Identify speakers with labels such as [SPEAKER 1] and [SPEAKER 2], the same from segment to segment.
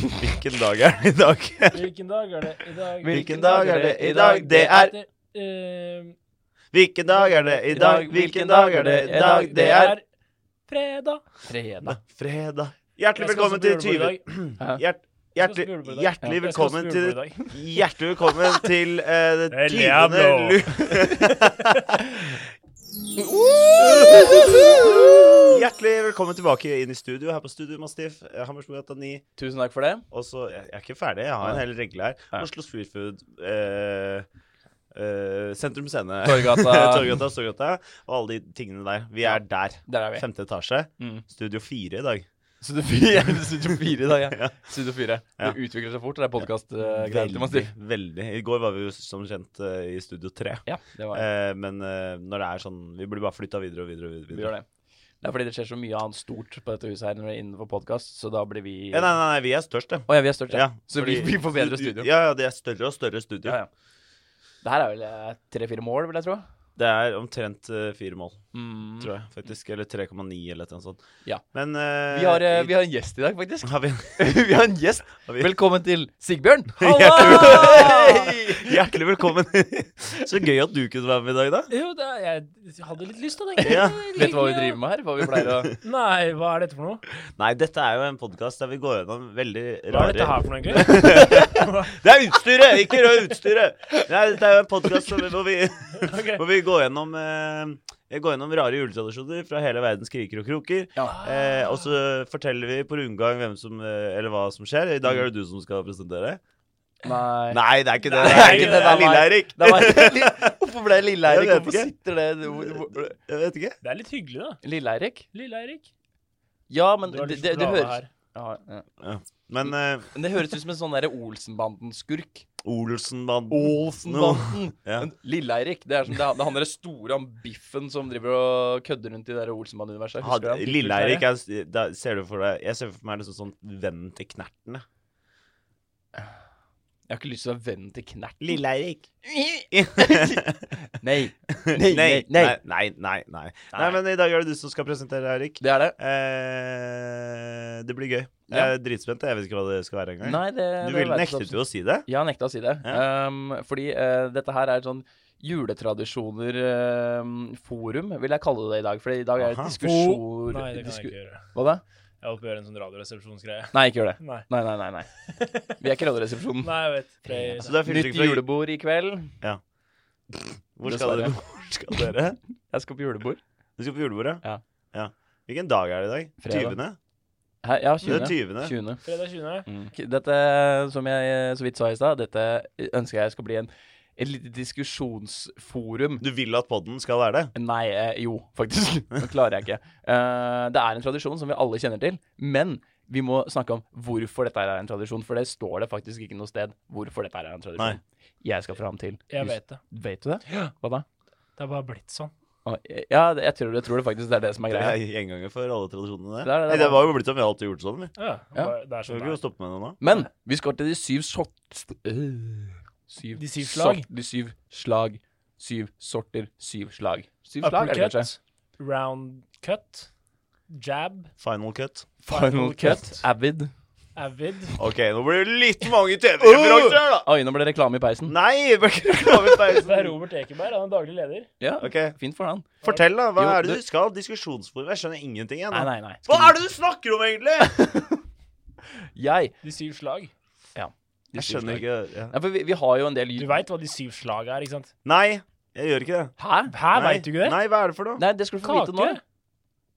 [SPEAKER 1] Hvilken dag er det i dag?
[SPEAKER 2] Hvilken dag er det i dag?
[SPEAKER 1] Hvilken dag er det i dag? Det er eh,
[SPEAKER 2] Ehm,
[SPEAKER 1] Hvilken dag er det i dag? Hvilken dag er det i dag? Det er
[SPEAKER 2] eh, fredag. Fredag.
[SPEAKER 1] fredag.
[SPEAKER 2] Jeg skal
[SPEAKER 1] Hjertelig velkommen til
[SPEAKER 2] også på
[SPEAKER 1] 20...
[SPEAKER 2] julebord i dag.
[SPEAKER 1] Hjert,
[SPEAKER 2] Jeg skal
[SPEAKER 1] hjertelig,
[SPEAKER 2] også på julebord i dag.
[SPEAKER 1] hjertelig
[SPEAKER 2] Jeg skal også på
[SPEAKER 1] velkommen
[SPEAKER 2] julebord
[SPEAKER 1] til
[SPEAKER 2] i dag.
[SPEAKER 1] Hjertelig velkommen til eh, det
[SPEAKER 2] El
[SPEAKER 1] tyvende
[SPEAKER 2] Diablo.
[SPEAKER 1] lu- Hjertelig velkommen tilbake inn i studio her på Studio Mastiff. eh, Hammersborggata 9.
[SPEAKER 3] Tusen takk for det.
[SPEAKER 1] Og så Jeg jeg er ikke ferdig, jeg har en hel regle her.
[SPEAKER 3] Ja.
[SPEAKER 1] Oslo Street Food. eh, eh, sentrum Scene.
[SPEAKER 3] Torgata.
[SPEAKER 1] Torgata, Storgata. Og alle de tingene der. Vi er der.
[SPEAKER 3] Der er vi.
[SPEAKER 1] Femte etasje.
[SPEAKER 3] Mm.
[SPEAKER 1] Studio 4 i dag.
[SPEAKER 3] Studio 4 ja, Studio 4 i dag, ja.
[SPEAKER 1] Ja.
[SPEAKER 3] Studio 4.
[SPEAKER 1] Ja.
[SPEAKER 3] Det utvikler seg fort, det er eh,
[SPEAKER 1] Veldig.
[SPEAKER 3] podkast-greier.
[SPEAKER 1] veldig. I går var vi jo som kjent eh, i Studio 3.
[SPEAKER 3] Ja, det var
[SPEAKER 1] Eh, men eh, når det er sånn Vi blir bare flytta videre og videre. og videre,
[SPEAKER 3] Vi gjør det. Det er fordi det skjer så mye annet stort på dette huset her når vi er innenfor podkast, så da blir vi
[SPEAKER 1] Ja, nei, nei, nei, vi er størst, det.
[SPEAKER 3] Å ja, vi er størst, ja.
[SPEAKER 1] Ja,
[SPEAKER 3] Så
[SPEAKER 1] fordi-
[SPEAKER 3] vi, vi får bedre studio.
[SPEAKER 1] Ja, ja, det er større og større studio.
[SPEAKER 3] Ja, ja. Det her er vel eh, tre-fire mål, vil jeg tro.
[SPEAKER 1] Det er omtrent eh, fire mål,
[SPEAKER 3] Mm.
[SPEAKER 1] tror jeg, faktisk. Eller 3,9 eller noe sånt.
[SPEAKER 3] Ja.
[SPEAKER 1] Men eh,
[SPEAKER 3] Vi, har, eh, vi har en gjest i dag, faktisk.
[SPEAKER 1] har vi
[SPEAKER 3] vi har en gjest.
[SPEAKER 1] Har vi-
[SPEAKER 3] Velkommen til Sigbjørn.
[SPEAKER 1] Hjertelig velkommen. Så gøy at du kunne være med i dag, da.
[SPEAKER 2] Jo, da, jeg hadde litt lyst til det. egentlig.
[SPEAKER 1] Ja.
[SPEAKER 3] Vet du hva vi driver med her? Hva vi pleier å
[SPEAKER 2] Nei, hva er dette for noe?
[SPEAKER 1] Nei, dette er jo en podkast der vi går gjennom veldig rare
[SPEAKER 2] Hva er dette her for noe, egentlig?
[SPEAKER 1] Det er utstyret! Ikke rør utstyret! Nei, dette er jo en podkast hvor vi
[SPEAKER 2] Ok.
[SPEAKER 1] Hvor vi går gjennom, eh, vi går gjennom rare juletradisjoner fra hele verdens kriker og kroker.
[SPEAKER 3] Ja.
[SPEAKER 1] Eh, og så forteller vi på rundgang hvem som, eh, eller hva som skjer. I dag er det du som skal presentere.
[SPEAKER 3] Nei.
[SPEAKER 1] Nei, det er ikke det.
[SPEAKER 2] Nei,
[SPEAKER 1] Det er,
[SPEAKER 2] det
[SPEAKER 1] ikke det. det er Lille-Eirik.
[SPEAKER 3] Det var Lille- Hvorfor ble
[SPEAKER 1] Jeg
[SPEAKER 3] Lille-Eirik?
[SPEAKER 1] vet
[SPEAKER 3] Hvorfor
[SPEAKER 1] ikke.
[SPEAKER 3] sitter det hvor- hvor-
[SPEAKER 1] Jeg vet ikke.
[SPEAKER 2] Det er litt hyggelig, da.
[SPEAKER 3] Lille-Eirik?
[SPEAKER 2] Lille-Eirik.
[SPEAKER 3] Ja, men
[SPEAKER 2] Du har
[SPEAKER 3] det,
[SPEAKER 2] litt
[SPEAKER 3] det, det
[SPEAKER 2] sjokolade
[SPEAKER 3] høres
[SPEAKER 2] her.
[SPEAKER 3] ja, ja.
[SPEAKER 1] Men eh,
[SPEAKER 3] Men Det høres ut som en sånn derre Olsenbanden-skurk.
[SPEAKER 1] Olsenbanden
[SPEAKER 3] Olsenbanden!
[SPEAKER 1] Ja.
[SPEAKER 3] Men Lille-Eirik, det er som det, er- det er han derre store han biffen som driver og kødder rundt i det der Olsenbanden-universet. Husker du
[SPEAKER 1] Had-
[SPEAKER 3] han?
[SPEAKER 1] Lille-Eirik er- da ser du for deg Jeg ser for meg liksom sånn vennen til Knertene.
[SPEAKER 3] Jeg har ikke lyst til å være vennen til Knert.
[SPEAKER 1] Lille-Eirik.
[SPEAKER 3] Nei.
[SPEAKER 1] Nei, nei,
[SPEAKER 3] Nei, nei,
[SPEAKER 1] nei. Nei, nei, nei. Nei, men i dag er det du som skal presentere, Eirik.
[SPEAKER 3] Det er det.
[SPEAKER 1] Eh, det blir gøy. Jeg
[SPEAKER 3] Ja.
[SPEAKER 1] er dritspent. Jeg vet ikke hva det skal være engang.
[SPEAKER 3] Nei, det,
[SPEAKER 1] Du
[SPEAKER 3] det
[SPEAKER 1] ville
[SPEAKER 3] vet jeg
[SPEAKER 1] nektet
[SPEAKER 3] absolutt.
[SPEAKER 1] jo å si det.
[SPEAKER 3] Jeg har nekta å si det. Um, fordi eh, dette her er et sånn juletradisjoner-forum, vil jeg kalle det i dag. For i dag er det
[SPEAKER 1] Aha.
[SPEAKER 3] diskusjon...
[SPEAKER 2] Nei, det kan jeg
[SPEAKER 3] disku-
[SPEAKER 2] ikke gjøre.
[SPEAKER 3] Hva da?
[SPEAKER 2] Jeg holdt på å gjøre en sånn radioresepsjonsgreie.
[SPEAKER 3] Nei, ikke gjør det.
[SPEAKER 2] Nei.
[SPEAKER 3] Nei, nei, nei. nei. Vi er ikke Radioresepsjonen.
[SPEAKER 2] Nei, jeg vet. Det-
[SPEAKER 1] Så det er
[SPEAKER 3] Nytt
[SPEAKER 1] filtrering fra
[SPEAKER 3] julebord i kveld.
[SPEAKER 1] Hvor skal dere?
[SPEAKER 3] Dessverre.
[SPEAKER 1] Hvor skal dere?
[SPEAKER 3] Jeg skal på julebord.
[SPEAKER 1] Du skal på julebordet?
[SPEAKER 3] Ja.
[SPEAKER 1] ja. Hvilken dag er det i dag?
[SPEAKER 3] Fredag.
[SPEAKER 1] 20.
[SPEAKER 3] Her, ja,
[SPEAKER 1] Det er
[SPEAKER 3] 20.
[SPEAKER 1] 20.
[SPEAKER 3] 20.
[SPEAKER 2] Fredag 20.
[SPEAKER 3] Mm. Dette, som jeg eh, så vidt sa i stad, dette ønsker jeg skal bli en, et lite diskusjonsforum.
[SPEAKER 1] Du vil at podden skal være det?
[SPEAKER 3] Nei, eh, jo, faktisk. Det klarer jeg ikke. Eh, det er en tradisjon som vi alle kjenner til, men vi må snakke om hvorfor dette her er en tradisjon, for det står det faktisk ikke noe sted hvorfor dette her er en tradisjon. Jeg skal fram til
[SPEAKER 2] Jeg vet det.
[SPEAKER 3] Vet du det? Hva da?
[SPEAKER 2] Det er bare blitt sånn.
[SPEAKER 3] Å, Ja, det- jeg tror, jeg tror det faktisk det er det som er
[SPEAKER 1] Det
[SPEAKER 3] greia.
[SPEAKER 1] er gjenganger for alle tradisjonene.
[SPEAKER 3] Det
[SPEAKER 1] Det,
[SPEAKER 3] er det, det
[SPEAKER 1] Nei,
[SPEAKER 3] er
[SPEAKER 1] det
[SPEAKER 3] bare-
[SPEAKER 1] var jo blitt som vi alltid har gjort sånn. Vi
[SPEAKER 2] Ja,
[SPEAKER 3] Ja.
[SPEAKER 2] bare- Det er
[SPEAKER 1] skal
[SPEAKER 2] sånn
[SPEAKER 1] ikke
[SPEAKER 2] det er.
[SPEAKER 1] stoppe med det nå.
[SPEAKER 3] Men vi skal til de syv sort... Øh. syv,
[SPEAKER 2] De syv slag?
[SPEAKER 3] sort- de syv slag. Syv sorter, syv slag. Syv slag, er det kanskje?
[SPEAKER 2] Uppercut, round cut, jab,
[SPEAKER 1] Final cut.
[SPEAKER 3] Final cut, avid.
[SPEAKER 2] avid.
[SPEAKER 1] OK, nå blir det litt
[SPEAKER 3] Oh!
[SPEAKER 1] mange TV-referanser her, da!
[SPEAKER 3] Oi, nå ble det reklame i peisen.
[SPEAKER 1] Nei! Bør ikke love
[SPEAKER 2] Det er
[SPEAKER 1] pausen.
[SPEAKER 2] Robert Ekeberg, han er daglig leder.
[SPEAKER 3] Ja,
[SPEAKER 1] sånn. OK,
[SPEAKER 3] fint for han.
[SPEAKER 1] fortell, da. Hva
[SPEAKER 3] Jo,
[SPEAKER 1] er det
[SPEAKER 3] du-
[SPEAKER 1] du skal? Diskusjonsforum? Jeg skjønner ingenting, jeg.
[SPEAKER 3] Nei,
[SPEAKER 1] nå.
[SPEAKER 3] nei, nei.
[SPEAKER 1] Hva er det du snakker om, egentlig?!
[SPEAKER 3] Jeg
[SPEAKER 2] De syv slag.
[SPEAKER 1] Jeg skjønner ikke ja.
[SPEAKER 3] Nei, for vi, vi har jo en del
[SPEAKER 2] Du veit hva de syv slag er, ikke sant?
[SPEAKER 1] Nei, jeg gjør ikke det.
[SPEAKER 3] Hæ?
[SPEAKER 2] Hæ,
[SPEAKER 1] Nei.
[SPEAKER 2] veit du ikke det?
[SPEAKER 1] Nei, hva er det for noe?
[SPEAKER 3] Nei, det skal du få vite nå.
[SPEAKER 2] Kake?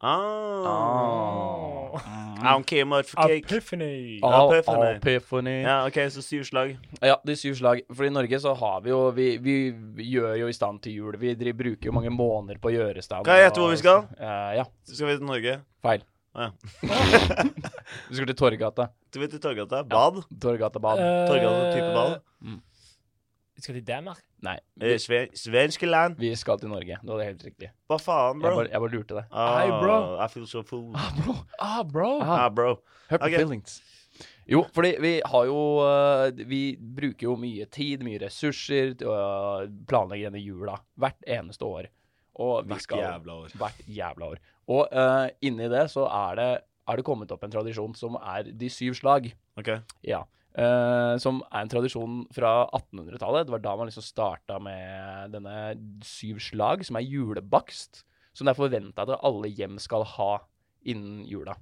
[SPEAKER 1] Ah.
[SPEAKER 3] Ah.
[SPEAKER 1] I don't care much for cake.
[SPEAKER 2] Epiphany.
[SPEAKER 1] Ah.
[SPEAKER 3] Al-
[SPEAKER 1] Epiphany.
[SPEAKER 3] Epiphany. Ja.
[SPEAKER 1] Ja, OK, så syv slag.
[SPEAKER 3] de syv slag. For i Norge så har vi jo Vi, vi gjør jo i stand til jul. Vi driver, bruker jo mange måneder på å gjøre i stand.
[SPEAKER 1] Kan jeg gjette hvor vi skal?
[SPEAKER 3] Eh, ja.
[SPEAKER 1] Så skal vi til Norge.
[SPEAKER 3] Feil.
[SPEAKER 1] Å, ja.
[SPEAKER 3] Vi skal til Torgata.
[SPEAKER 1] Så skal vi til Torgata. Bad.
[SPEAKER 3] Torgata bad.
[SPEAKER 2] Eh,
[SPEAKER 1] Torgata type bad.
[SPEAKER 2] Vi skal til Danmark.
[SPEAKER 3] Nei,
[SPEAKER 1] Eh,
[SPEAKER 3] vi,
[SPEAKER 1] sve svenske land.
[SPEAKER 3] vi skal til Norge. Du hadde helt riktig.
[SPEAKER 1] Hva faen,
[SPEAKER 3] Jeg
[SPEAKER 1] bro?
[SPEAKER 3] bare, jeg bare lurte deg.
[SPEAKER 1] Ah,
[SPEAKER 2] Hei, bro.
[SPEAKER 1] I feel so full.
[SPEAKER 3] Ah, bro.
[SPEAKER 2] Ah, bro.
[SPEAKER 3] Ah.
[SPEAKER 1] Ah, bro.
[SPEAKER 3] Hurt my
[SPEAKER 1] Ok.
[SPEAKER 3] feelings. Jo, fordi vi har jo eh, Vi bruker jo mye tid, mye ressurser til å planlegge denne jula hvert eneste år. Og vi
[SPEAKER 1] Hvert
[SPEAKER 3] skal
[SPEAKER 1] jævla år.
[SPEAKER 3] Hvert jævla år. Og eh, inni det så er det er det kommet opp en tradisjon som er de syv slag.
[SPEAKER 1] Ok.
[SPEAKER 3] Ja. Eh, som er en tradisjon fra 1800-tallet. Det var da man liksom starta med denne syv slag, som er julebakst. Som det er forventa at alle hjem skal ha innen jula.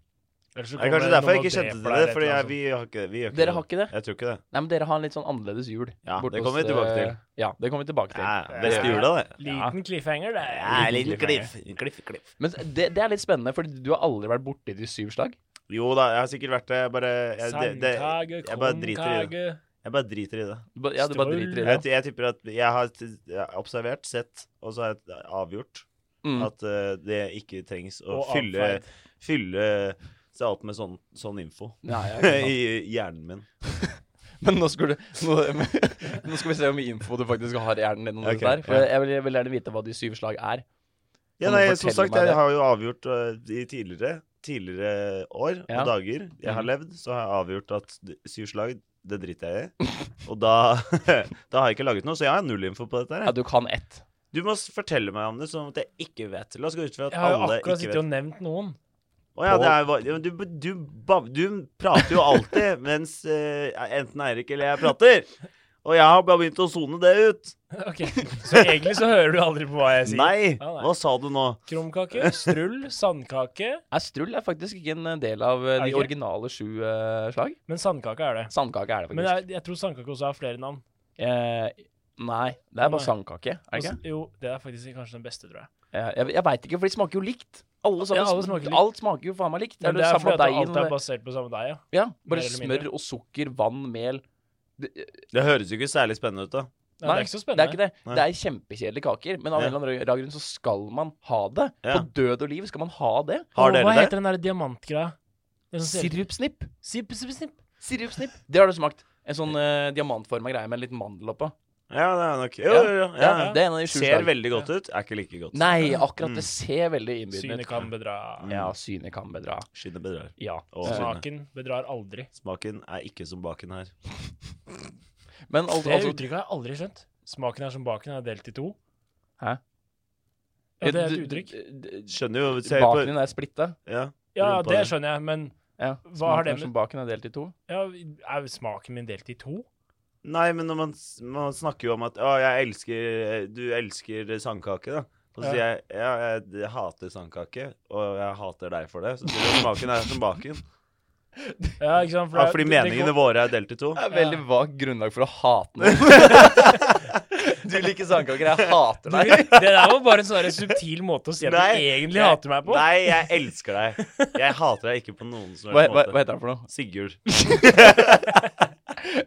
[SPEAKER 2] Ellers så
[SPEAKER 1] Det er
[SPEAKER 2] kommer
[SPEAKER 1] kanskje derfor jeg
[SPEAKER 2] noen og
[SPEAKER 1] ikke kjente til
[SPEAKER 2] dreper deg altså.
[SPEAKER 1] det. Fordi jeg,
[SPEAKER 2] eller et eller annet
[SPEAKER 1] vi har ikke, vi gjør ikke
[SPEAKER 3] Dere har ikke det?
[SPEAKER 1] Jeg tror ikke det.
[SPEAKER 3] Nei, men dere har en litt sånn annerledes jul.
[SPEAKER 1] Ja,
[SPEAKER 3] borte
[SPEAKER 1] det kommer
[SPEAKER 3] hos,
[SPEAKER 1] vi tilbake
[SPEAKER 3] eh,
[SPEAKER 1] til.
[SPEAKER 3] Ja, det kommer vi tilbake til.
[SPEAKER 1] Ja, beste jula, det.
[SPEAKER 2] sånt. Liten cliffhanger, det.
[SPEAKER 1] Ja,
[SPEAKER 2] er-
[SPEAKER 1] liten kliff. Kliff, kliff.
[SPEAKER 3] Men det, det er litt spennende, for du har aldri vært borti de syv slag.
[SPEAKER 1] Jo da, jeg har sikkert vært det. Jeg bare, jeg, det, det,
[SPEAKER 2] Sandkage,
[SPEAKER 1] jeg bare driter i det.
[SPEAKER 2] kornkage
[SPEAKER 1] Jeg bare driter i det.
[SPEAKER 3] Du ba- Ja, du bare
[SPEAKER 2] Strål.
[SPEAKER 3] driter i det.
[SPEAKER 1] Jeg, jeg tipper at jeg har t- jeg har observert, sett, og så har jeg avgjort
[SPEAKER 3] Mm.
[SPEAKER 1] at eh, det ikke trengs å
[SPEAKER 2] og
[SPEAKER 1] fylle,
[SPEAKER 2] atferd.
[SPEAKER 1] fylle seg opp med sånn, sånn info
[SPEAKER 3] Nei, ja, ikke sant.
[SPEAKER 1] i hjernen min.
[SPEAKER 3] men nå skal, du, nå, nå skal vi se hvor mye info du faktisk har i hjernen din. om
[SPEAKER 1] Ok,
[SPEAKER 3] dette der, for
[SPEAKER 1] ja.
[SPEAKER 3] jeg vil, jeg vil gjerne vite hva de syv slag er.
[SPEAKER 1] Ja,
[SPEAKER 3] Kan du
[SPEAKER 1] nei, som
[SPEAKER 3] fortelle
[SPEAKER 1] sagt,
[SPEAKER 3] meg
[SPEAKER 1] jeg
[SPEAKER 3] det?
[SPEAKER 1] har jo avgjort eh, i tidligere, tidligere år
[SPEAKER 3] Ja.
[SPEAKER 1] og dager jeg har
[SPEAKER 3] Mhm.
[SPEAKER 1] levd, så har jeg avgjort at d- syv slag, det driter jeg i. Og da, da har jeg ikke laget noe, så jeg har null info på dette.
[SPEAKER 3] Ja,
[SPEAKER 1] her.
[SPEAKER 3] du kan ett.
[SPEAKER 1] Du må s- fortelle meg om det, sånn at jeg ikke vet. La oss gå ut fra at
[SPEAKER 2] Jeg har jo
[SPEAKER 1] alle ikke
[SPEAKER 2] akkurat sittet
[SPEAKER 1] vet.
[SPEAKER 2] og nevnt noen.
[SPEAKER 1] Å ja, det er, jo- ja, men du, du, bav- du prater jo alltid mens eh, enten Eirik eller jeg prater. Og jeg har bare begynt å sone det ut.
[SPEAKER 2] Ok, Så egentlig så hører du aldri på hva jeg sier.
[SPEAKER 1] Nei!
[SPEAKER 2] Ja, nei.
[SPEAKER 1] Hva sa du nå?
[SPEAKER 2] Krumkake, strull, sandkake.
[SPEAKER 3] Nei, Strull er faktisk ikke en del av eh,
[SPEAKER 2] Er det
[SPEAKER 3] de
[SPEAKER 2] ikke?
[SPEAKER 3] originale sju eh, slag.
[SPEAKER 2] Men sandkake er det.
[SPEAKER 3] Sandkake er det
[SPEAKER 2] Men
[SPEAKER 3] faktisk.
[SPEAKER 2] jeg, jeg tror sandkake også har flere navn.
[SPEAKER 3] Eh, nei, det er bare sandkake. er det ikke?
[SPEAKER 2] Også- Altså, Jo, det er faktisk kanskje den beste, tror jeg.
[SPEAKER 3] Eh, jeg jeg veit ikke, for de smaker jo likt. Alle sammen,
[SPEAKER 2] Ja, alle
[SPEAKER 3] sm-
[SPEAKER 2] smaker likt.
[SPEAKER 3] Alt smaker jo faen meg likt.
[SPEAKER 2] Men
[SPEAKER 3] Er
[SPEAKER 2] det er fordi
[SPEAKER 3] samme
[SPEAKER 2] at
[SPEAKER 3] deigen
[SPEAKER 2] alt
[SPEAKER 3] og
[SPEAKER 2] er
[SPEAKER 3] det-
[SPEAKER 2] basert på samme deig, ja.
[SPEAKER 3] Ja,
[SPEAKER 2] mer
[SPEAKER 3] bare
[SPEAKER 2] eller mindre.
[SPEAKER 3] smør og sukker, vann, mel. Det,
[SPEAKER 1] Det høres jo ikke særlig spennende ut, da.
[SPEAKER 2] Nei, det er ikke så spennende.
[SPEAKER 3] Det er ikke det.
[SPEAKER 1] Nei.
[SPEAKER 3] Det er kjempekjedelige kaker, men av en
[SPEAKER 1] Ja.
[SPEAKER 3] eller annen rar grunn så skal man ha det.
[SPEAKER 1] Ja.
[SPEAKER 3] På død og liv skal man ha det.
[SPEAKER 1] Har
[SPEAKER 2] Å, Hva
[SPEAKER 1] dere det?
[SPEAKER 2] heter den der diamantgreia? Det er sånn ser-
[SPEAKER 3] Sirupsnipp.
[SPEAKER 2] Sipp, sipp, sipp.
[SPEAKER 3] Sirupsnipp. Det har du smakt. En sånn uh, diamantforma greie med en liten mandel oppå.
[SPEAKER 1] Ja, det er nok Jo,
[SPEAKER 3] Ja.
[SPEAKER 1] jo, jo. Ja,
[SPEAKER 3] Ja,
[SPEAKER 1] ja.
[SPEAKER 3] Det er en av de sju
[SPEAKER 1] Ser
[SPEAKER 3] slag.
[SPEAKER 1] veldig godt ut, er ikke like godt.
[SPEAKER 3] Nei, akkurat.
[SPEAKER 1] Mm.
[SPEAKER 3] Det ser veldig innbydende
[SPEAKER 2] Synet
[SPEAKER 3] ut.
[SPEAKER 2] kan bedra.
[SPEAKER 1] Mm.
[SPEAKER 3] Ja, synet kan bedra.
[SPEAKER 1] Skinnet bedrar.
[SPEAKER 3] Ja.
[SPEAKER 1] Og skinnet.
[SPEAKER 2] Smaken bedrar aldri.
[SPEAKER 1] Smaken er ikke som baken her.
[SPEAKER 3] Men al-
[SPEAKER 2] Det
[SPEAKER 3] altså
[SPEAKER 2] uttrykket har jeg aldri skjønt. Smaken er som baken er delt i to.
[SPEAKER 3] Hæ?
[SPEAKER 2] Ja, det er et uttrykk.
[SPEAKER 1] Skjønner jo se på,
[SPEAKER 3] Baken din er splitta.
[SPEAKER 1] ja.
[SPEAKER 2] Ja,
[SPEAKER 1] Rumpa
[SPEAKER 2] det
[SPEAKER 1] di.
[SPEAKER 2] skjønner jeg, men
[SPEAKER 3] Ja.
[SPEAKER 2] Hva har
[SPEAKER 3] smaken
[SPEAKER 2] det
[SPEAKER 3] er
[SPEAKER 2] med-
[SPEAKER 3] Som baken er delt i to.
[SPEAKER 2] ja, er smaken min delt i to?
[SPEAKER 1] Nei, men når man, s- man snakker jo om at Å, jeg elsker Du elsker sandkake, da. Og så sier jeg ja, jeg d- hater sandkake, og jeg hater deg for det. Så sier du smaken er som baken.
[SPEAKER 2] Ja, ikke sant?
[SPEAKER 1] Ja, fordi meningene
[SPEAKER 2] går,
[SPEAKER 1] våre er delt i to.
[SPEAKER 3] Det er
[SPEAKER 2] veldig
[SPEAKER 3] veldig vagt grunnlag for å hate noen. du liker sandkaker, jeg hater deg.
[SPEAKER 2] Det der var bare en sånn der subtil måte å si at
[SPEAKER 1] Nei.
[SPEAKER 2] du egentlig hater meg på.
[SPEAKER 1] Nei, jeg elsker deg. Jeg hater deg ikke på noen som
[SPEAKER 3] Hva,
[SPEAKER 1] helst
[SPEAKER 3] hva, hva
[SPEAKER 1] måte.
[SPEAKER 3] heter han for noe?
[SPEAKER 1] Sigurd.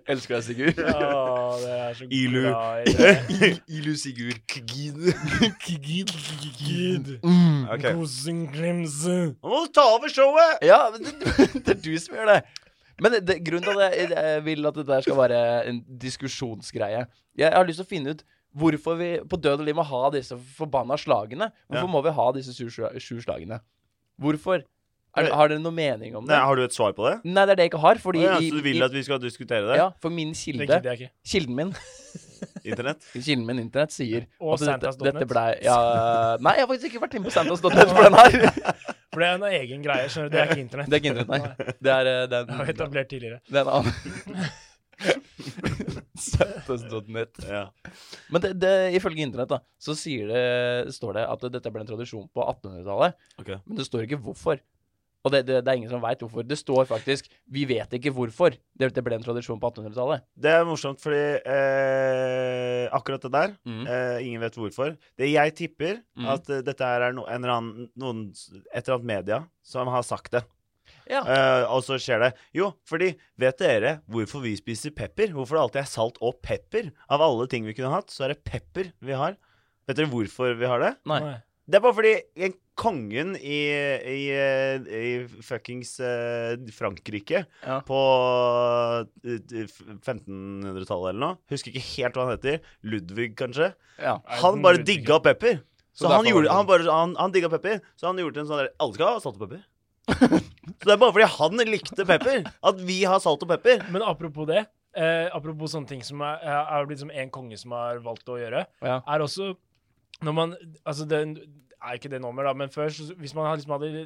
[SPEAKER 3] Elsker deg, Sigurd.
[SPEAKER 2] Å, det er så
[SPEAKER 1] Ilu.
[SPEAKER 2] glad i det.
[SPEAKER 3] Ilu Sigurd.
[SPEAKER 2] Gid, gid,
[SPEAKER 3] Mm.
[SPEAKER 1] Ok.
[SPEAKER 2] rosenklimse.
[SPEAKER 1] Nå må du ta over showet!
[SPEAKER 3] Ja, men det, det er du som gjør det. Men det, grunnen til at jeg, jeg vil at det der skal være en diskusjonsgreie Jeg har lyst til å finne ut hvorfor vi på død og liv må ha disse forbanna slagene. Hvorfor
[SPEAKER 1] Ja.
[SPEAKER 3] må vi ha disse sju, sla- sju slagene? Hvorfor? Er, har dere noe mening om det?
[SPEAKER 1] Nei, har du et svar på det?
[SPEAKER 3] Nei, det er det jeg ikke har. Fordi
[SPEAKER 1] Å ja,
[SPEAKER 3] i-
[SPEAKER 1] så du
[SPEAKER 3] i-
[SPEAKER 1] vil at vi skal diskutere det?
[SPEAKER 3] ja, for min
[SPEAKER 2] Det
[SPEAKER 3] kilde,
[SPEAKER 2] gidder jeg ikke.
[SPEAKER 3] kilden min,
[SPEAKER 1] Internett?
[SPEAKER 3] kilden min internett sier
[SPEAKER 2] Og
[SPEAKER 3] at dette,
[SPEAKER 2] Santas.net.
[SPEAKER 3] dette blei ja, Nei, jeg har faktisk ikke vært inne på Santas.net for den her.
[SPEAKER 2] For det er en egen greie. skjønner du, Det er ikke internett.
[SPEAKER 3] Det er ikke internett, nei. Det er, eh, det er,
[SPEAKER 2] Det har vi etablert tidligere.
[SPEAKER 3] det er en annen. Santas.net.
[SPEAKER 1] Ja.
[SPEAKER 3] Men det, det, ifølge internett da, så sier det, står det at dette ble en tradisjon på 1800-tallet.
[SPEAKER 1] Ok.
[SPEAKER 3] Men det står ikke hvorfor. Og det, det, det er ingen som veit hvorfor. Det står faktisk 'vi vet ikke hvorfor'. Det, det ble en tradisjon på 1800-tallet.
[SPEAKER 1] Det er morsomt, fordi eh, akkurat det der
[SPEAKER 3] Mm.
[SPEAKER 1] eh, Ingen vet hvorfor. Det jeg tipper,
[SPEAKER 3] Mm.
[SPEAKER 1] at eh, dette her er no, en eller annen, noen, et eller annet media som har sagt det.
[SPEAKER 3] Ja.
[SPEAKER 1] Eh, og så skjer det. Jo, fordi vet dere hvorfor vi spiser pepper? Hvorfor det alltid er salt og pepper? Av alle ting vi kunne hatt, så er det pepper vi har. Vet dere hvorfor vi har det?
[SPEAKER 3] Nei.
[SPEAKER 1] Det er bare fordi en kongen i, i, eh, i fuckings eh, Frankrike
[SPEAKER 3] Ja.
[SPEAKER 1] på eh, 1500-tallet eller noe Husker ikke helt hva han heter. Ludvig, kanskje.
[SPEAKER 3] ja.
[SPEAKER 1] Han bare digga pepper. Så,
[SPEAKER 3] Så
[SPEAKER 1] han,
[SPEAKER 3] derfor var
[SPEAKER 1] gjorde,
[SPEAKER 3] det
[SPEAKER 1] han, bare, han, han digga pepper, så han gjorde til en sånn der Alle skal ha salt og pepper. så det er bare fordi han likte pepper, at vi har salt og pepper.
[SPEAKER 2] Men apropos det. Eh, apropos sånne ting som er, er blitt som en konge som har valgt å gjøre.
[SPEAKER 3] Ja.
[SPEAKER 2] er også når man Altså, det er ikke det nå mer, da, men før, så, hvis man liksom hadde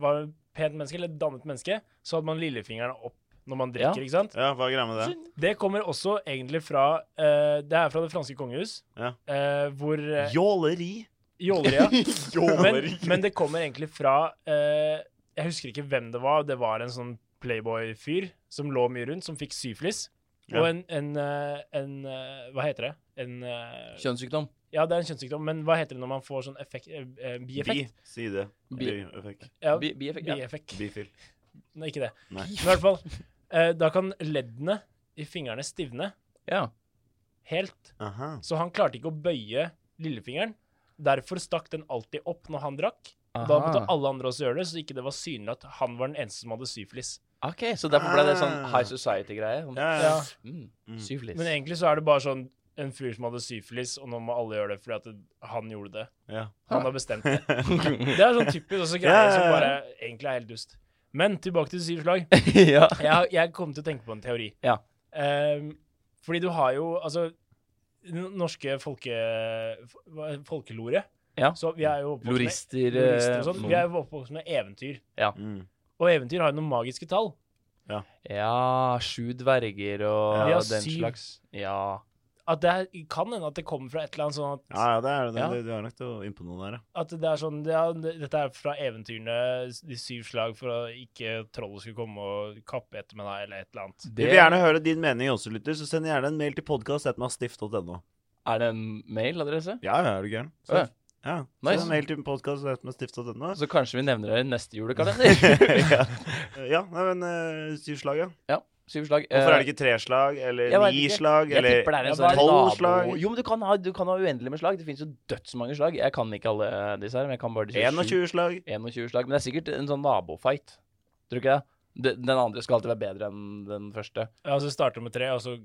[SPEAKER 2] var pent menneske, eller et dannet menneske, så hadde man lillefingeren opp når man drikker, ikke sant?
[SPEAKER 1] Ja, hva er greia med det?
[SPEAKER 2] Det kommer også egentlig fra eh, Det er fra det franske kongehus,
[SPEAKER 1] Ja.
[SPEAKER 2] eh, hvor eh,
[SPEAKER 1] Jåleri.
[SPEAKER 2] Jåleria men,
[SPEAKER 1] Jåleri.
[SPEAKER 2] men det kommer egentlig fra eh, Jeg husker ikke hvem det var. Det var en sånn playboy-fyr som lå mye rundt, som fikk syflis.
[SPEAKER 1] Ja.
[SPEAKER 2] Og en, en, eh, en eh, Hva heter det? En eh,
[SPEAKER 3] Kjønnssykdom.
[SPEAKER 2] Ja, det er en kjønnssykdom, men hva heter det når man får sånn effekt, eh, eh,
[SPEAKER 1] Bi.
[SPEAKER 2] bieffekt?
[SPEAKER 1] Si det.
[SPEAKER 3] Bi.
[SPEAKER 1] Bieffekt.
[SPEAKER 2] Ja,
[SPEAKER 3] Bi- Bieffekt. Ja.
[SPEAKER 2] bieffekt.
[SPEAKER 1] Bifil.
[SPEAKER 2] Nei, ikke det.
[SPEAKER 1] Nei.
[SPEAKER 2] Men i hvert fall, eh, da kan leddene i fingrene stivne
[SPEAKER 3] ja.
[SPEAKER 2] helt.
[SPEAKER 1] Aha.
[SPEAKER 2] Så han klarte ikke å bøye lillefingeren. Derfor stakk den alltid opp når han drakk. Da
[SPEAKER 3] Aha.
[SPEAKER 2] måtte alle andre også gjøre det, så ikke det var synlig at han var den eneste som hadde syfilis.
[SPEAKER 3] OK, så derfor ble det sånn
[SPEAKER 1] Ah.
[SPEAKER 3] high society-greie. Sånn,
[SPEAKER 1] Ja, ja.
[SPEAKER 2] Ja.
[SPEAKER 3] mm,
[SPEAKER 1] Mm.
[SPEAKER 3] syfilis.
[SPEAKER 2] Eh, Men egentlig så er det bare sånn en fyr som hadde syfilis, og nå må alle gjøre det fordi at det, han gjorde det.
[SPEAKER 1] ja.
[SPEAKER 2] Han har bestemt det. Det er sånn typisk også greier som bare egentlig er helt dust. Men tilbake til syv slag.
[SPEAKER 3] ja.
[SPEAKER 2] Jeg, jeg kom til å tenke på en teori.
[SPEAKER 3] Ja.
[SPEAKER 2] Ehm, fordi du har jo Altså, den norske folke, hva- folkelore
[SPEAKER 3] Ja.
[SPEAKER 2] Så vi er jo oppvokst med-
[SPEAKER 3] Lorister, eh,
[SPEAKER 2] lorister og sånn. Vi er jo oppvokst med eventyr.
[SPEAKER 1] Mm.
[SPEAKER 2] Og eventyr har jo noen magiske tall.
[SPEAKER 3] ja, sju dverger og
[SPEAKER 2] Vi har
[SPEAKER 3] den
[SPEAKER 2] syv.
[SPEAKER 3] slags. Ja.
[SPEAKER 2] At det er, kan hende at det kommer fra et eller annet sånn at
[SPEAKER 1] ja, ja, det er det.
[SPEAKER 3] Ja.
[SPEAKER 1] Du, du er nok til å innpå noe der, ja.
[SPEAKER 2] At det er sånn ja, det- Dette er fra eventyrene, de syv slag, for å ikke trollet skulle komme og kappe etter med deg, eller et eller annet.
[SPEAKER 1] Vi vil gjerne høre din mening også, lytter, så send gjerne en mail til podkast.mastift.no.
[SPEAKER 3] Er det en mailadresse?
[SPEAKER 1] Ja, ja, er du gæren. Så-
[SPEAKER 3] Å,
[SPEAKER 1] Ja.
[SPEAKER 3] Nice.
[SPEAKER 1] Send en mail til podkast.mastift.no.
[SPEAKER 3] Så kanskje vi nevner det i neste julekalender.
[SPEAKER 1] ja, Eh, ja nei, men uh, syv slag, ja.
[SPEAKER 3] ja, syv slag.
[SPEAKER 1] Hvorfor er det ikke tre slag, eller
[SPEAKER 3] Eh, jeg vet
[SPEAKER 1] ni
[SPEAKER 3] ikke.
[SPEAKER 1] slag,
[SPEAKER 3] Jeg
[SPEAKER 1] eller
[SPEAKER 3] tipper det er en
[SPEAKER 2] Ja,
[SPEAKER 3] sånn
[SPEAKER 1] tolv
[SPEAKER 3] nabo...
[SPEAKER 1] slag?
[SPEAKER 3] Jo, men du kan, ha, du kan ha uendelig med slag. Det finnes jo dødsmange slag. Jeg kan ikke alle eh, disse her, men jeg kan bare disse sju-
[SPEAKER 1] 21 slag?
[SPEAKER 3] 21 slag. Men det er sikkert en sånn nabofight. Tror du ikke det? De- Den andre skal alltid være bedre enn den første.
[SPEAKER 2] Ja, så starta med tre, og så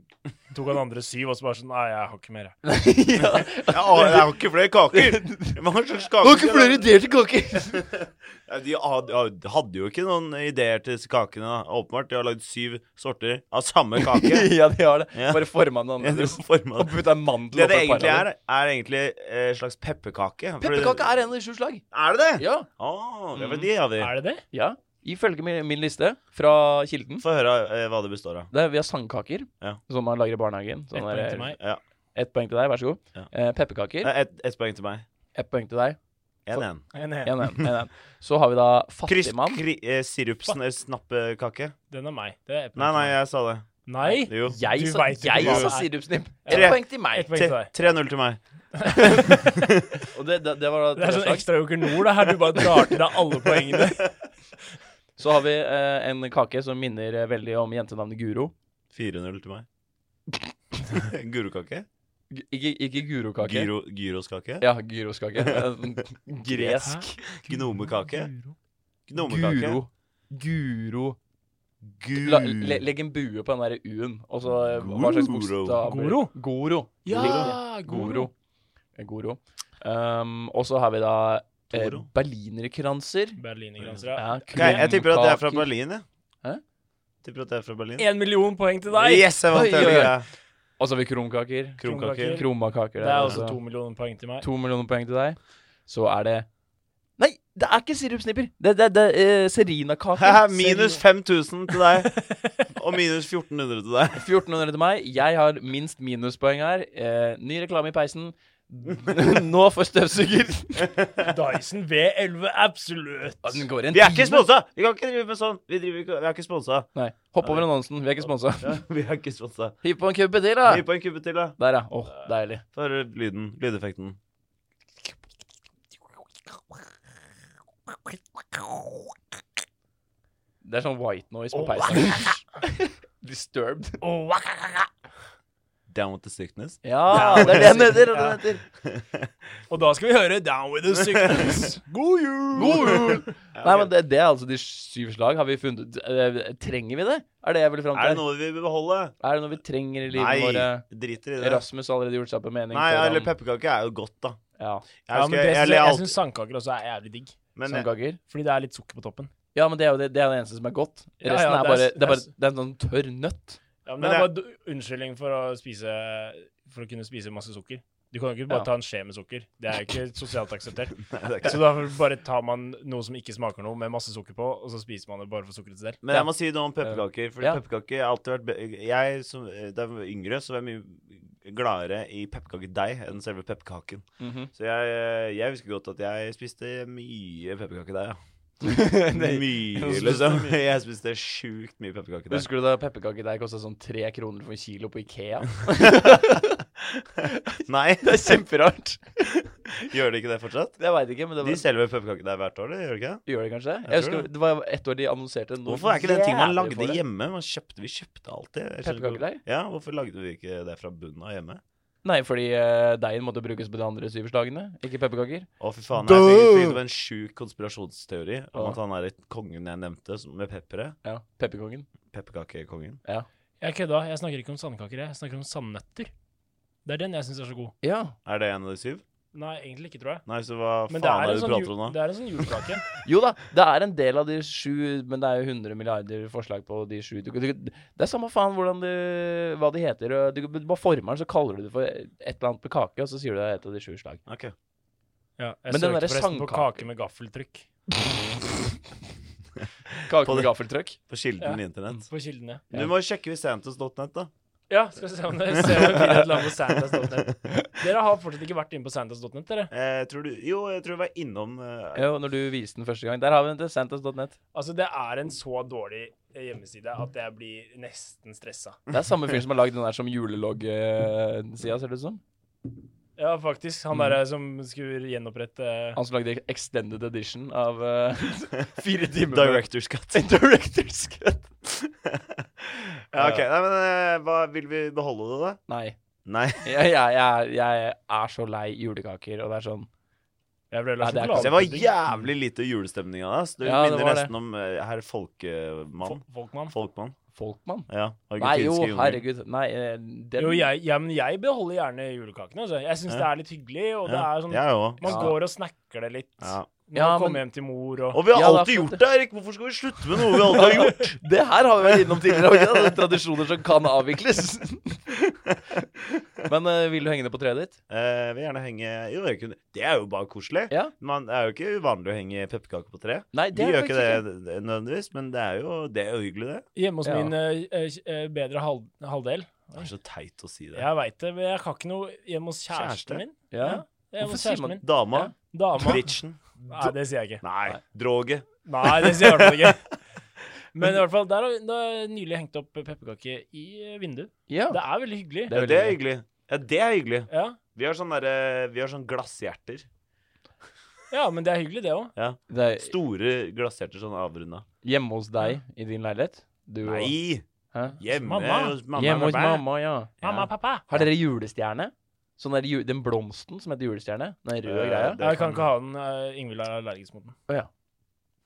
[SPEAKER 2] tok han andre syv, og så bare sånn Nei, jeg har ikke mer, jeg.
[SPEAKER 3] ja.
[SPEAKER 1] Ja, å, jeg har ikke flere kaker! Hva slags kaker?
[SPEAKER 3] ideer til kaker!
[SPEAKER 1] Ja, De had- ja, de hadde jo ikke noen ideer til disse kakene, da. åpenbart. De har lagd syv sorter av samme kake.
[SPEAKER 3] ja, de har det.
[SPEAKER 1] Ja.
[SPEAKER 3] Bare forma den
[SPEAKER 1] Ja,
[SPEAKER 3] andre.
[SPEAKER 1] det former-
[SPEAKER 3] Og putta en mandel
[SPEAKER 1] det det
[SPEAKER 3] oppi et
[SPEAKER 1] egentlig
[SPEAKER 3] par av
[SPEAKER 1] er, er egentlig eh, en slags pepperkake.
[SPEAKER 3] dem. Pepperkake er en av de sju slag.
[SPEAKER 1] Er det det?
[SPEAKER 3] Ja.
[SPEAKER 1] Å, det var de av de.
[SPEAKER 3] Mm.
[SPEAKER 2] Er det det?
[SPEAKER 3] ja. Ifølge min, min liste fra Kilden
[SPEAKER 1] Få høre eh, hva det består av.
[SPEAKER 3] det er, Vi har sandkaker,
[SPEAKER 1] Ja.
[SPEAKER 3] som man lager i barnehagen.
[SPEAKER 2] Ett
[SPEAKER 3] Sånn
[SPEAKER 2] poeng
[SPEAKER 3] der-
[SPEAKER 2] til meg.
[SPEAKER 1] Ja.
[SPEAKER 3] Ett poeng til deg, vær så god.
[SPEAKER 1] Ja.
[SPEAKER 3] Eh, pepperkaker.
[SPEAKER 1] Ett et poeng til meg.
[SPEAKER 3] Ett poeng til deg.
[SPEAKER 1] Én igjen.
[SPEAKER 2] En hel.
[SPEAKER 3] 1-1. Så har vi da
[SPEAKER 1] Kryst,
[SPEAKER 3] Fattigmann.
[SPEAKER 1] kri, eh, sirupsnappekake?
[SPEAKER 2] Den er meg. Det er ett poeng
[SPEAKER 1] Nei, nei,
[SPEAKER 2] til meg.
[SPEAKER 1] jeg sa det.
[SPEAKER 2] Nei?
[SPEAKER 1] Jo.
[SPEAKER 3] Jeg
[SPEAKER 2] Du
[SPEAKER 3] sa,
[SPEAKER 2] vet jo
[SPEAKER 3] jeg
[SPEAKER 1] hva
[SPEAKER 3] sa
[SPEAKER 2] det er.
[SPEAKER 3] sirupsnipp.
[SPEAKER 1] Ja.
[SPEAKER 3] Ett poeng
[SPEAKER 2] Ett
[SPEAKER 3] til meg.
[SPEAKER 2] poeng til deg.
[SPEAKER 1] 3-0 til meg.
[SPEAKER 3] Og det, det, det var
[SPEAKER 2] Det
[SPEAKER 3] da
[SPEAKER 2] er
[SPEAKER 3] tre
[SPEAKER 2] sånn
[SPEAKER 3] slag.
[SPEAKER 2] ekstra Joker Nord, det her. Du bare drar til deg alle poengene.
[SPEAKER 3] Så har vi eh, en kake som minner eh, veldig om jentenavnet Guro.
[SPEAKER 1] 4-0 til meg. Gurokake?
[SPEAKER 3] G ikke ikke Guro-kake.
[SPEAKER 1] Gyro, gyroskake?
[SPEAKER 3] Ja, gyroskake. Det er sånn Gresk.
[SPEAKER 1] Gnomekake? Gnomekake?
[SPEAKER 3] Guro. Guro.
[SPEAKER 1] Guro.
[SPEAKER 3] La, le, legg en bue på den derre U-en, og så eh, hva slags bokstav blir det?
[SPEAKER 2] Goro?
[SPEAKER 3] Goro.
[SPEAKER 2] Ja,
[SPEAKER 3] Goro. Eh, Goro. Um, og så har vi da eh,
[SPEAKER 1] Goro.
[SPEAKER 3] berlinerkranser.
[SPEAKER 2] Berlinergrenser, ja.
[SPEAKER 3] Ja,
[SPEAKER 1] Ok, jeg tipper at det er fra
[SPEAKER 3] krumkaker.
[SPEAKER 1] Berlin, jeg.
[SPEAKER 3] Hæ?
[SPEAKER 1] Tipper at det er fra Berlin.
[SPEAKER 2] Én million poeng til deg!
[SPEAKER 1] Yes, jeg vant
[SPEAKER 3] Oi, oi,
[SPEAKER 1] hele
[SPEAKER 3] oi.
[SPEAKER 1] greia.
[SPEAKER 3] Og så har vi krumkaker.
[SPEAKER 1] Krumkaker.
[SPEAKER 2] Krumkaker.
[SPEAKER 3] Kromakaker.
[SPEAKER 2] Det er også to millioner poeng til meg.
[SPEAKER 3] To millioner poeng til deg. Så er det Nei, det er ikke sirupsnipper! Det, det, det er eh, serinakaker.
[SPEAKER 1] Haha, minus 5000 til deg. Og minus 1400 til deg.
[SPEAKER 3] 1400 til meg. Jeg har minst minuspoeng her. Eh, ny reklame i peisen. Nå for støvsuger.
[SPEAKER 2] Dyson V11 Absolutt.
[SPEAKER 3] Ja, Den går i en
[SPEAKER 1] Vi er ikke
[SPEAKER 3] time.
[SPEAKER 1] sponsa! Vi kan ikke drive med sånn. Vi, driver ikke, vi er ikke sponsa.
[SPEAKER 3] Nei, Hopp over annonsen. Vi er ikke sponsa.
[SPEAKER 1] Ja, vi er ikke sponsa.
[SPEAKER 3] Hiv på en kubbe til, da.
[SPEAKER 1] Gi på en kubbe til, da.
[SPEAKER 3] Der, ja. Åh, deilig.
[SPEAKER 1] Få høre lyden. Lydeffekten.
[SPEAKER 3] Det er sånn white noise på peisen. Disturbed.
[SPEAKER 2] Åh,
[SPEAKER 1] Down with the sickness.
[SPEAKER 3] Ja,
[SPEAKER 2] Ja,
[SPEAKER 3] det er det den heter. det er det den heter.
[SPEAKER 2] Og da skal vi høre Down with the Sickness. God jul!
[SPEAKER 3] God jul! Nei, men det, det er altså de syv slag. Har vi funnet eh, Trenger vi det? Er det jeg vil fram
[SPEAKER 1] Er det
[SPEAKER 3] til?
[SPEAKER 1] noe vi vil beholde?
[SPEAKER 3] Er det noe vi trenger i
[SPEAKER 1] Nei,
[SPEAKER 3] livet vårt?
[SPEAKER 1] driter i det.
[SPEAKER 3] Rasmus har allerede gjort seg opp en mening.
[SPEAKER 1] Nei,
[SPEAKER 3] før
[SPEAKER 1] eller
[SPEAKER 3] han-
[SPEAKER 1] pepperkake er jo godt, da.
[SPEAKER 3] Ja,
[SPEAKER 1] Jeg
[SPEAKER 2] Ja, men
[SPEAKER 1] husker,
[SPEAKER 2] det,
[SPEAKER 1] jeg,
[SPEAKER 2] jeg
[SPEAKER 1] jeg,
[SPEAKER 2] jeg
[SPEAKER 1] alltid,
[SPEAKER 2] syns sandkaker også er jævlig digg.
[SPEAKER 3] sånn
[SPEAKER 1] men jeg,
[SPEAKER 3] sandkaker.
[SPEAKER 2] Fordi det er litt sukker på toppen.
[SPEAKER 3] Ja, men det er jo det, det, er det eneste som er godt.
[SPEAKER 2] Ja,
[SPEAKER 3] Resten
[SPEAKER 2] ja,
[SPEAKER 3] er
[SPEAKER 2] det er-
[SPEAKER 3] bare Det er,
[SPEAKER 2] det er-
[SPEAKER 3] bare, det er en sånn tørr nøtt.
[SPEAKER 2] Ja, men,
[SPEAKER 1] Men
[SPEAKER 2] det er
[SPEAKER 1] jeg-
[SPEAKER 2] bare d- unnskyldning for å spise For å kunne spise masse sukker. Du kan jo ikke bare
[SPEAKER 3] Ja.
[SPEAKER 2] ta en skje med sukker. Det er jo ikke sosialt akseptert.
[SPEAKER 1] Nei, det er ikke
[SPEAKER 2] Så da bare tar man noe som ikke smaker noe, med masse sukker på, og så spiser man det bare for sukkerets del.
[SPEAKER 1] Men jeg må si noe om pepperkaker. Fordi
[SPEAKER 3] Ja.
[SPEAKER 1] pepperkaker har alltid vært be- Jeg som eh, da jeg var yngre, så var jeg mye gladere i pepperkakedeig enn selve pepperkaken.
[SPEAKER 3] Mhm.
[SPEAKER 1] Så jeg, eh, jeg husker godt at jeg spiste mye pepperkakedeig, ja. mye,
[SPEAKER 3] spiste
[SPEAKER 1] liksom.
[SPEAKER 3] mye.
[SPEAKER 1] Jeg spiste sjukt mye pepperkakedeig.
[SPEAKER 3] Husker du da pepperkakedeig kosta sånn tre kroner for en kilo på Ikea?
[SPEAKER 1] Nei,
[SPEAKER 3] Det er kjemperart.
[SPEAKER 1] gjør de ikke det fortsatt?
[SPEAKER 3] Jeg veit ikke, men det var
[SPEAKER 1] De selger vel pepperkakedeig hvert år, de, gjør de ikke det?
[SPEAKER 3] Gjør det kanskje? Jeg,
[SPEAKER 1] tror
[SPEAKER 3] husker
[SPEAKER 1] det.
[SPEAKER 3] det var ett år de annonserte noe
[SPEAKER 1] Hvorfor er ikke det en ting man
[SPEAKER 3] jævlig
[SPEAKER 1] lagde
[SPEAKER 3] for det.
[SPEAKER 1] hjemme? Man kjøpte, vi kjøpte alltid. Jeg skjønner ikke-
[SPEAKER 3] Pepperkakedeig?
[SPEAKER 1] Ja, hvorfor lagde vi ikke det fra bunnen av hjemme?
[SPEAKER 3] Nei, fordi eh, deigen måtte brukes på de andre syverslagene, ikke pepperkaker.
[SPEAKER 1] Å, fy faen. Jeg fikk, fikk opp en sjuk konspirasjonsteori om
[SPEAKER 3] Ja.
[SPEAKER 1] at han er kongen jeg nevnte, som- med pepperet.
[SPEAKER 3] Ja, pepperkongen.
[SPEAKER 1] Pepperkakekongen.
[SPEAKER 2] Jeg kødda. Jeg snakker ikke om sandkaker, jeg. Jeg snakker om sandnøtter. Det er den jeg syns er så god.
[SPEAKER 3] Ja.
[SPEAKER 1] Er det en av de syv?
[SPEAKER 2] Nei, egentlig ikke, tror jeg.
[SPEAKER 1] Nei, så hva
[SPEAKER 2] Men det
[SPEAKER 1] faen
[SPEAKER 2] er,
[SPEAKER 1] er
[SPEAKER 2] en
[SPEAKER 1] det du
[SPEAKER 2] sånn
[SPEAKER 1] prater
[SPEAKER 2] ju-
[SPEAKER 1] om nå?
[SPEAKER 2] det er en sånn julekake.
[SPEAKER 3] Jo da, det er en del av de sju, men det er jo 100 milliarder forslag på de sju. Du, du, det er samme faen hvordan du, hva de heter. og Du, du bare former den, så kaller du det for et eller annet på kake, og så sier du det er et av de sju slag.
[SPEAKER 1] Ok.
[SPEAKER 2] Ja, jeg
[SPEAKER 3] Men den
[SPEAKER 2] søkte
[SPEAKER 3] derre
[SPEAKER 2] forresten på
[SPEAKER 3] sandkake-
[SPEAKER 2] kake med gaffeltrykk
[SPEAKER 3] Kake
[SPEAKER 1] På
[SPEAKER 3] med
[SPEAKER 1] det-
[SPEAKER 3] gaffeltrykk.
[SPEAKER 1] På kilden
[SPEAKER 2] Ja.
[SPEAKER 1] i internett.
[SPEAKER 2] på kildene.
[SPEAKER 1] Du må sjekke Visantos.net, da.
[SPEAKER 2] Ja, skal vi se om det ser ut til et land på Santas.net. Dere har fortsatt ikke vært inne på Santas.net, dere.
[SPEAKER 1] Eh, tror du Jo, jeg tror jeg var innom eh,
[SPEAKER 3] Jo, når du viste den første gang. Der har vi den til santas.net.
[SPEAKER 2] Altså, det er en så dårlig eh, hjemmeside at jeg blir nesten stressa.
[SPEAKER 3] Det er samme fyr som har lagd den der som julelogg-sida, ser det ut som.
[SPEAKER 2] Ja, faktisk. Han derre som skulle gjenopprette eh,
[SPEAKER 3] Han som lagde extended edition av eh, fire timer med-
[SPEAKER 1] Director's Cut.
[SPEAKER 3] Director's cut.
[SPEAKER 1] ja, OK. Nei, men eh, hva, vil vi beholde det, da?
[SPEAKER 3] Nei.
[SPEAKER 1] Nei.
[SPEAKER 3] Jeg, jeg, jeg, jeg er så lei julekaker, og det er sånn
[SPEAKER 2] Jeg ble
[SPEAKER 3] Nei,
[SPEAKER 2] lagt
[SPEAKER 3] det er
[SPEAKER 2] sjokolade-
[SPEAKER 1] Så det var jævlig lite julestemning av deg. ass. Du
[SPEAKER 3] Ja, det
[SPEAKER 1] minner
[SPEAKER 3] var det.
[SPEAKER 1] nesten om eh, herr Folkemann.
[SPEAKER 2] Fol- Folkmann.
[SPEAKER 1] Folkemann.
[SPEAKER 3] Folkmann.
[SPEAKER 1] Ja.
[SPEAKER 3] Nei, jo,
[SPEAKER 1] argentinske jungler.
[SPEAKER 3] herregud. Nei, eh, den
[SPEAKER 2] Jo, jeg, ja, men jeg beholder gjerne julekakene. Altså. Jeg syns
[SPEAKER 1] Ja.
[SPEAKER 2] det er litt hyggelig, og det
[SPEAKER 1] Ja,
[SPEAKER 2] er sånn
[SPEAKER 1] Jeg òg.
[SPEAKER 2] Man
[SPEAKER 3] Ja.
[SPEAKER 2] går og snakker det litt.
[SPEAKER 1] Ja.
[SPEAKER 2] Når
[SPEAKER 3] Ja,
[SPEAKER 2] man kommer
[SPEAKER 3] men-
[SPEAKER 2] hjem til mor og
[SPEAKER 1] Og vi har
[SPEAKER 3] Ja, det er
[SPEAKER 1] alltid
[SPEAKER 3] sant,
[SPEAKER 1] gjort det, Erik. Hvorfor skal vi slutte med noe vi alltid har gjort?
[SPEAKER 3] Det her har vi vært innom tidligere. Ikke? sant? Det er Tradisjoner som kan avvikles. Men eh, vil du henge det på treet ditt?
[SPEAKER 1] Eh, vil gjerne henge Jo, jeg kunne Det er jo bare koselig.
[SPEAKER 3] Ja.
[SPEAKER 1] Man, det er jo ikke uvanlig å henge pepperkaker på tre.
[SPEAKER 3] Nei,
[SPEAKER 1] Vi
[SPEAKER 3] det
[SPEAKER 1] gjør
[SPEAKER 3] er
[SPEAKER 1] ikke
[SPEAKER 3] faktisk ikke
[SPEAKER 1] det det- nødvendigvis, men det er jo, det er jo hyggelig, det.
[SPEAKER 2] Hjemme hos
[SPEAKER 3] Ja.
[SPEAKER 2] min eh, eh, eh, bedre halv, halvdel.
[SPEAKER 1] Det er så teit å si det.
[SPEAKER 2] Jeg veit det, men jeg kan ikke noe hjemme hos kjæresten
[SPEAKER 1] Kjæreste?
[SPEAKER 2] min.
[SPEAKER 3] Ja.
[SPEAKER 2] Ja, Hjemme
[SPEAKER 3] Hvorfor
[SPEAKER 2] hos
[SPEAKER 3] sier
[SPEAKER 2] kjæresten
[SPEAKER 3] man
[SPEAKER 2] min.
[SPEAKER 1] Dama.
[SPEAKER 2] Dama.
[SPEAKER 1] Britchen.
[SPEAKER 2] Nei, det sier jeg ikke.
[SPEAKER 1] Nei. Droget.
[SPEAKER 2] Nei, det sier jeg i hvert fall ikke. Men i hvert fall, der har vi- da har jeg nylig hengt opp pepperkake i eh, vinduet.
[SPEAKER 3] ja.
[SPEAKER 2] Det er veldig hyggelig.
[SPEAKER 3] Det er
[SPEAKER 1] Ja,
[SPEAKER 3] veldig
[SPEAKER 1] det er hyggelig. Ja, det er hyggelig.
[SPEAKER 2] Ja,
[SPEAKER 1] Vi har sånn derre Vi har sånn glasshjerter.
[SPEAKER 2] ja men det er hyggelig, det òg.
[SPEAKER 3] Det er
[SPEAKER 1] Store glasshjerter sånn avrunda.
[SPEAKER 3] hjemme hos deg i din leilighet? Du og
[SPEAKER 1] Nei!
[SPEAKER 3] Hæ?
[SPEAKER 1] Hjemme
[SPEAKER 2] Mamma.
[SPEAKER 1] hos mamma.
[SPEAKER 3] Hjemme hos
[SPEAKER 1] eller bæ.
[SPEAKER 3] mamma, ja.
[SPEAKER 1] Ja.
[SPEAKER 2] Mamma, pappa.
[SPEAKER 3] Har dere julestjerne? Sånn der, ju- Den blomsten som heter julestjerne? Den røde
[SPEAKER 1] Eh,
[SPEAKER 3] greia?
[SPEAKER 1] det
[SPEAKER 2] Jeg
[SPEAKER 1] kan-
[SPEAKER 2] kan ikke ha den. eh, Ingvild er allergisk mot den.
[SPEAKER 3] Å ja.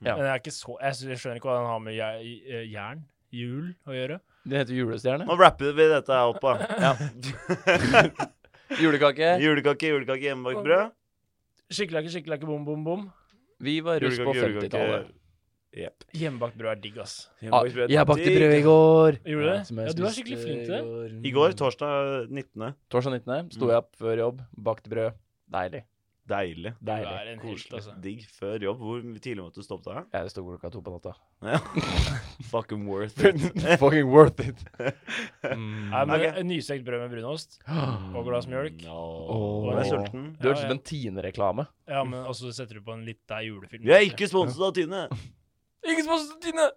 [SPEAKER 3] Ja.
[SPEAKER 2] Men jeg, er ikke så, jeg sy- jeg skjønner ikke hva den har med je- eh, jern, jul, å gjøre.
[SPEAKER 3] Den heter julestjerne?
[SPEAKER 1] Nå rapper vi dette her opp, da.
[SPEAKER 3] Julekake.
[SPEAKER 1] julekake, julekake, hjemmebakt brød.
[SPEAKER 2] Skikkelakke, skikkelakke, bom, bom, bom.
[SPEAKER 3] Vi var russ på 50-tallet.
[SPEAKER 1] Jepp.
[SPEAKER 2] Hjemmebakt brød er digg, ass.
[SPEAKER 3] Ah, jeg bakte brød i går.
[SPEAKER 2] Gjorde du det?
[SPEAKER 3] som jeg
[SPEAKER 2] Ja, du er
[SPEAKER 3] spiste
[SPEAKER 2] skikkelig flink til det.
[SPEAKER 3] i
[SPEAKER 1] I går, torsdag 19.
[SPEAKER 3] Torsdag 19. sto jeg opp før jobb, bakte brød. Deilig.
[SPEAKER 1] Deilig.
[SPEAKER 2] Du
[SPEAKER 3] Deilig.
[SPEAKER 2] er en helt,
[SPEAKER 1] Koselig.
[SPEAKER 2] altså.
[SPEAKER 1] Digg før jobb. Hvor tidlig måtte du stoppe deg?
[SPEAKER 3] Jeg sto klokka to på natta.
[SPEAKER 1] Ja. Fucking worth it.
[SPEAKER 3] Fucking worth it.
[SPEAKER 2] Nei, men
[SPEAKER 1] Ok.
[SPEAKER 2] en Nystekt brød med brunost og Mm. glass mjølk. Mm.
[SPEAKER 1] No.
[SPEAKER 3] Åh.
[SPEAKER 1] Jeg er sulten.
[SPEAKER 3] Du hørtes
[SPEAKER 2] Ja,
[SPEAKER 3] ut
[SPEAKER 2] ja.
[SPEAKER 3] som en Tine-reklame.
[SPEAKER 2] Ja, men også setter du på en lita julefilm.
[SPEAKER 1] Vi er ikke sponset av Tine.
[SPEAKER 2] Ikke sponset, Tine!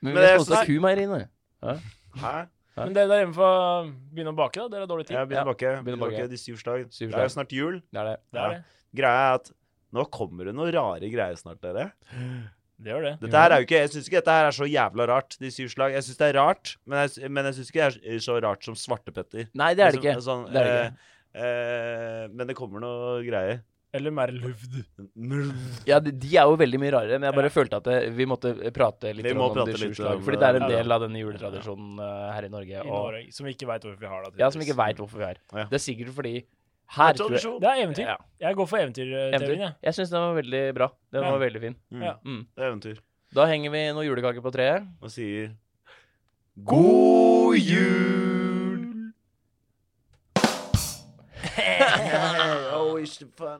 [SPEAKER 3] Men
[SPEAKER 1] Men
[SPEAKER 3] vi
[SPEAKER 1] det er
[SPEAKER 3] sponset
[SPEAKER 1] sånn-
[SPEAKER 3] kumeieriene.
[SPEAKER 1] Hæ?
[SPEAKER 2] Men dere der hjemme får begynne å bake, da. Dere har dårlig tid.
[SPEAKER 1] Jeg begynner å bakke.
[SPEAKER 3] begynner å
[SPEAKER 1] Begynner å
[SPEAKER 3] bakke.
[SPEAKER 1] bakke De syv slag.
[SPEAKER 3] Syv
[SPEAKER 1] Det er
[SPEAKER 3] slag.
[SPEAKER 1] jo snart jul.
[SPEAKER 3] Det er det.
[SPEAKER 2] Det er det.
[SPEAKER 1] Greia er at nå kommer det noen rare greier snart, dere.
[SPEAKER 2] Det gjør det.
[SPEAKER 1] Dette her er jo ikke, Jeg syns ikke dette her er så jævla rart, De syv slag. Jeg syns det er rart, men jeg, s- men jeg syns ikke det er så rart som Svartepetter.
[SPEAKER 3] Nei, det er det ikke.
[SPEAKER 1] Liksom, Sånn,
[SPEAKER 3] Det er det
[SPEAKER 1] eh,
[SPEAKER 3] ikke.
[SPEAKER 1] eh, men det kommer noe greier.
[SPEAKER 2] Eller mer luvd.
[SPEAKER 3] Ja, de, de er jo veldig mye rarere, men jeg bare følte at det, vi måtte prate litt
[SPEAKER 1] Vi
[SPEAKER 3] om,
[SPEAKER 1] må prate
[SPEAKER 3] de sju
[SPEAKER 1] litt
[SPEAKER 3] slag.
[SPEAKER 1] om
[SPEAKER 3] Fordi
[SPEAKER 1] det.
[SPEAKER 3] det er
[SPEAKER 2] Ja,
[SPEAKER 3] en
[SPEAKER 2] ja.
[SPEAKER 3] del av denne juletradisjonen eh, her i
[SPEAKER 2] I
[SPEAKER 3] Norge. Og,
[SPEAKER 2] Norge, som vi ikke veit hvorfor vi har det.
[SPEAKER 3] ja, som ikke veit hvorfor vi er.
[SPEAKER 1] Ja.
[SPEAKER 3] Det er sikkert fordi her tror jeg,
[SPEAKER 1] Tradisjon.
[SPEAKER 2] Det er eventyr.
[SPEAKER 3] Ja.
[SPEAKER 2] Jeg går for eventyrteorien, jeg.
[SPEAKER 3] Jeg syns den var veldig bra. Den
[SPEAKER 2] Ja.
[SPEAKER 3] var veldig fin.
[SPEAKER 1] Mm.
[SPEAKER 2] Ja.
[SPEAKER 3] Mm.
[SPEAKER 1] Det er eventyr.
[SPEAKER 3] Da henger vi noen julekaker på treet.
[SPEAKER 1] Og sier
[SPEAKER 3] God jul!
[SPEAKER 1] wish to find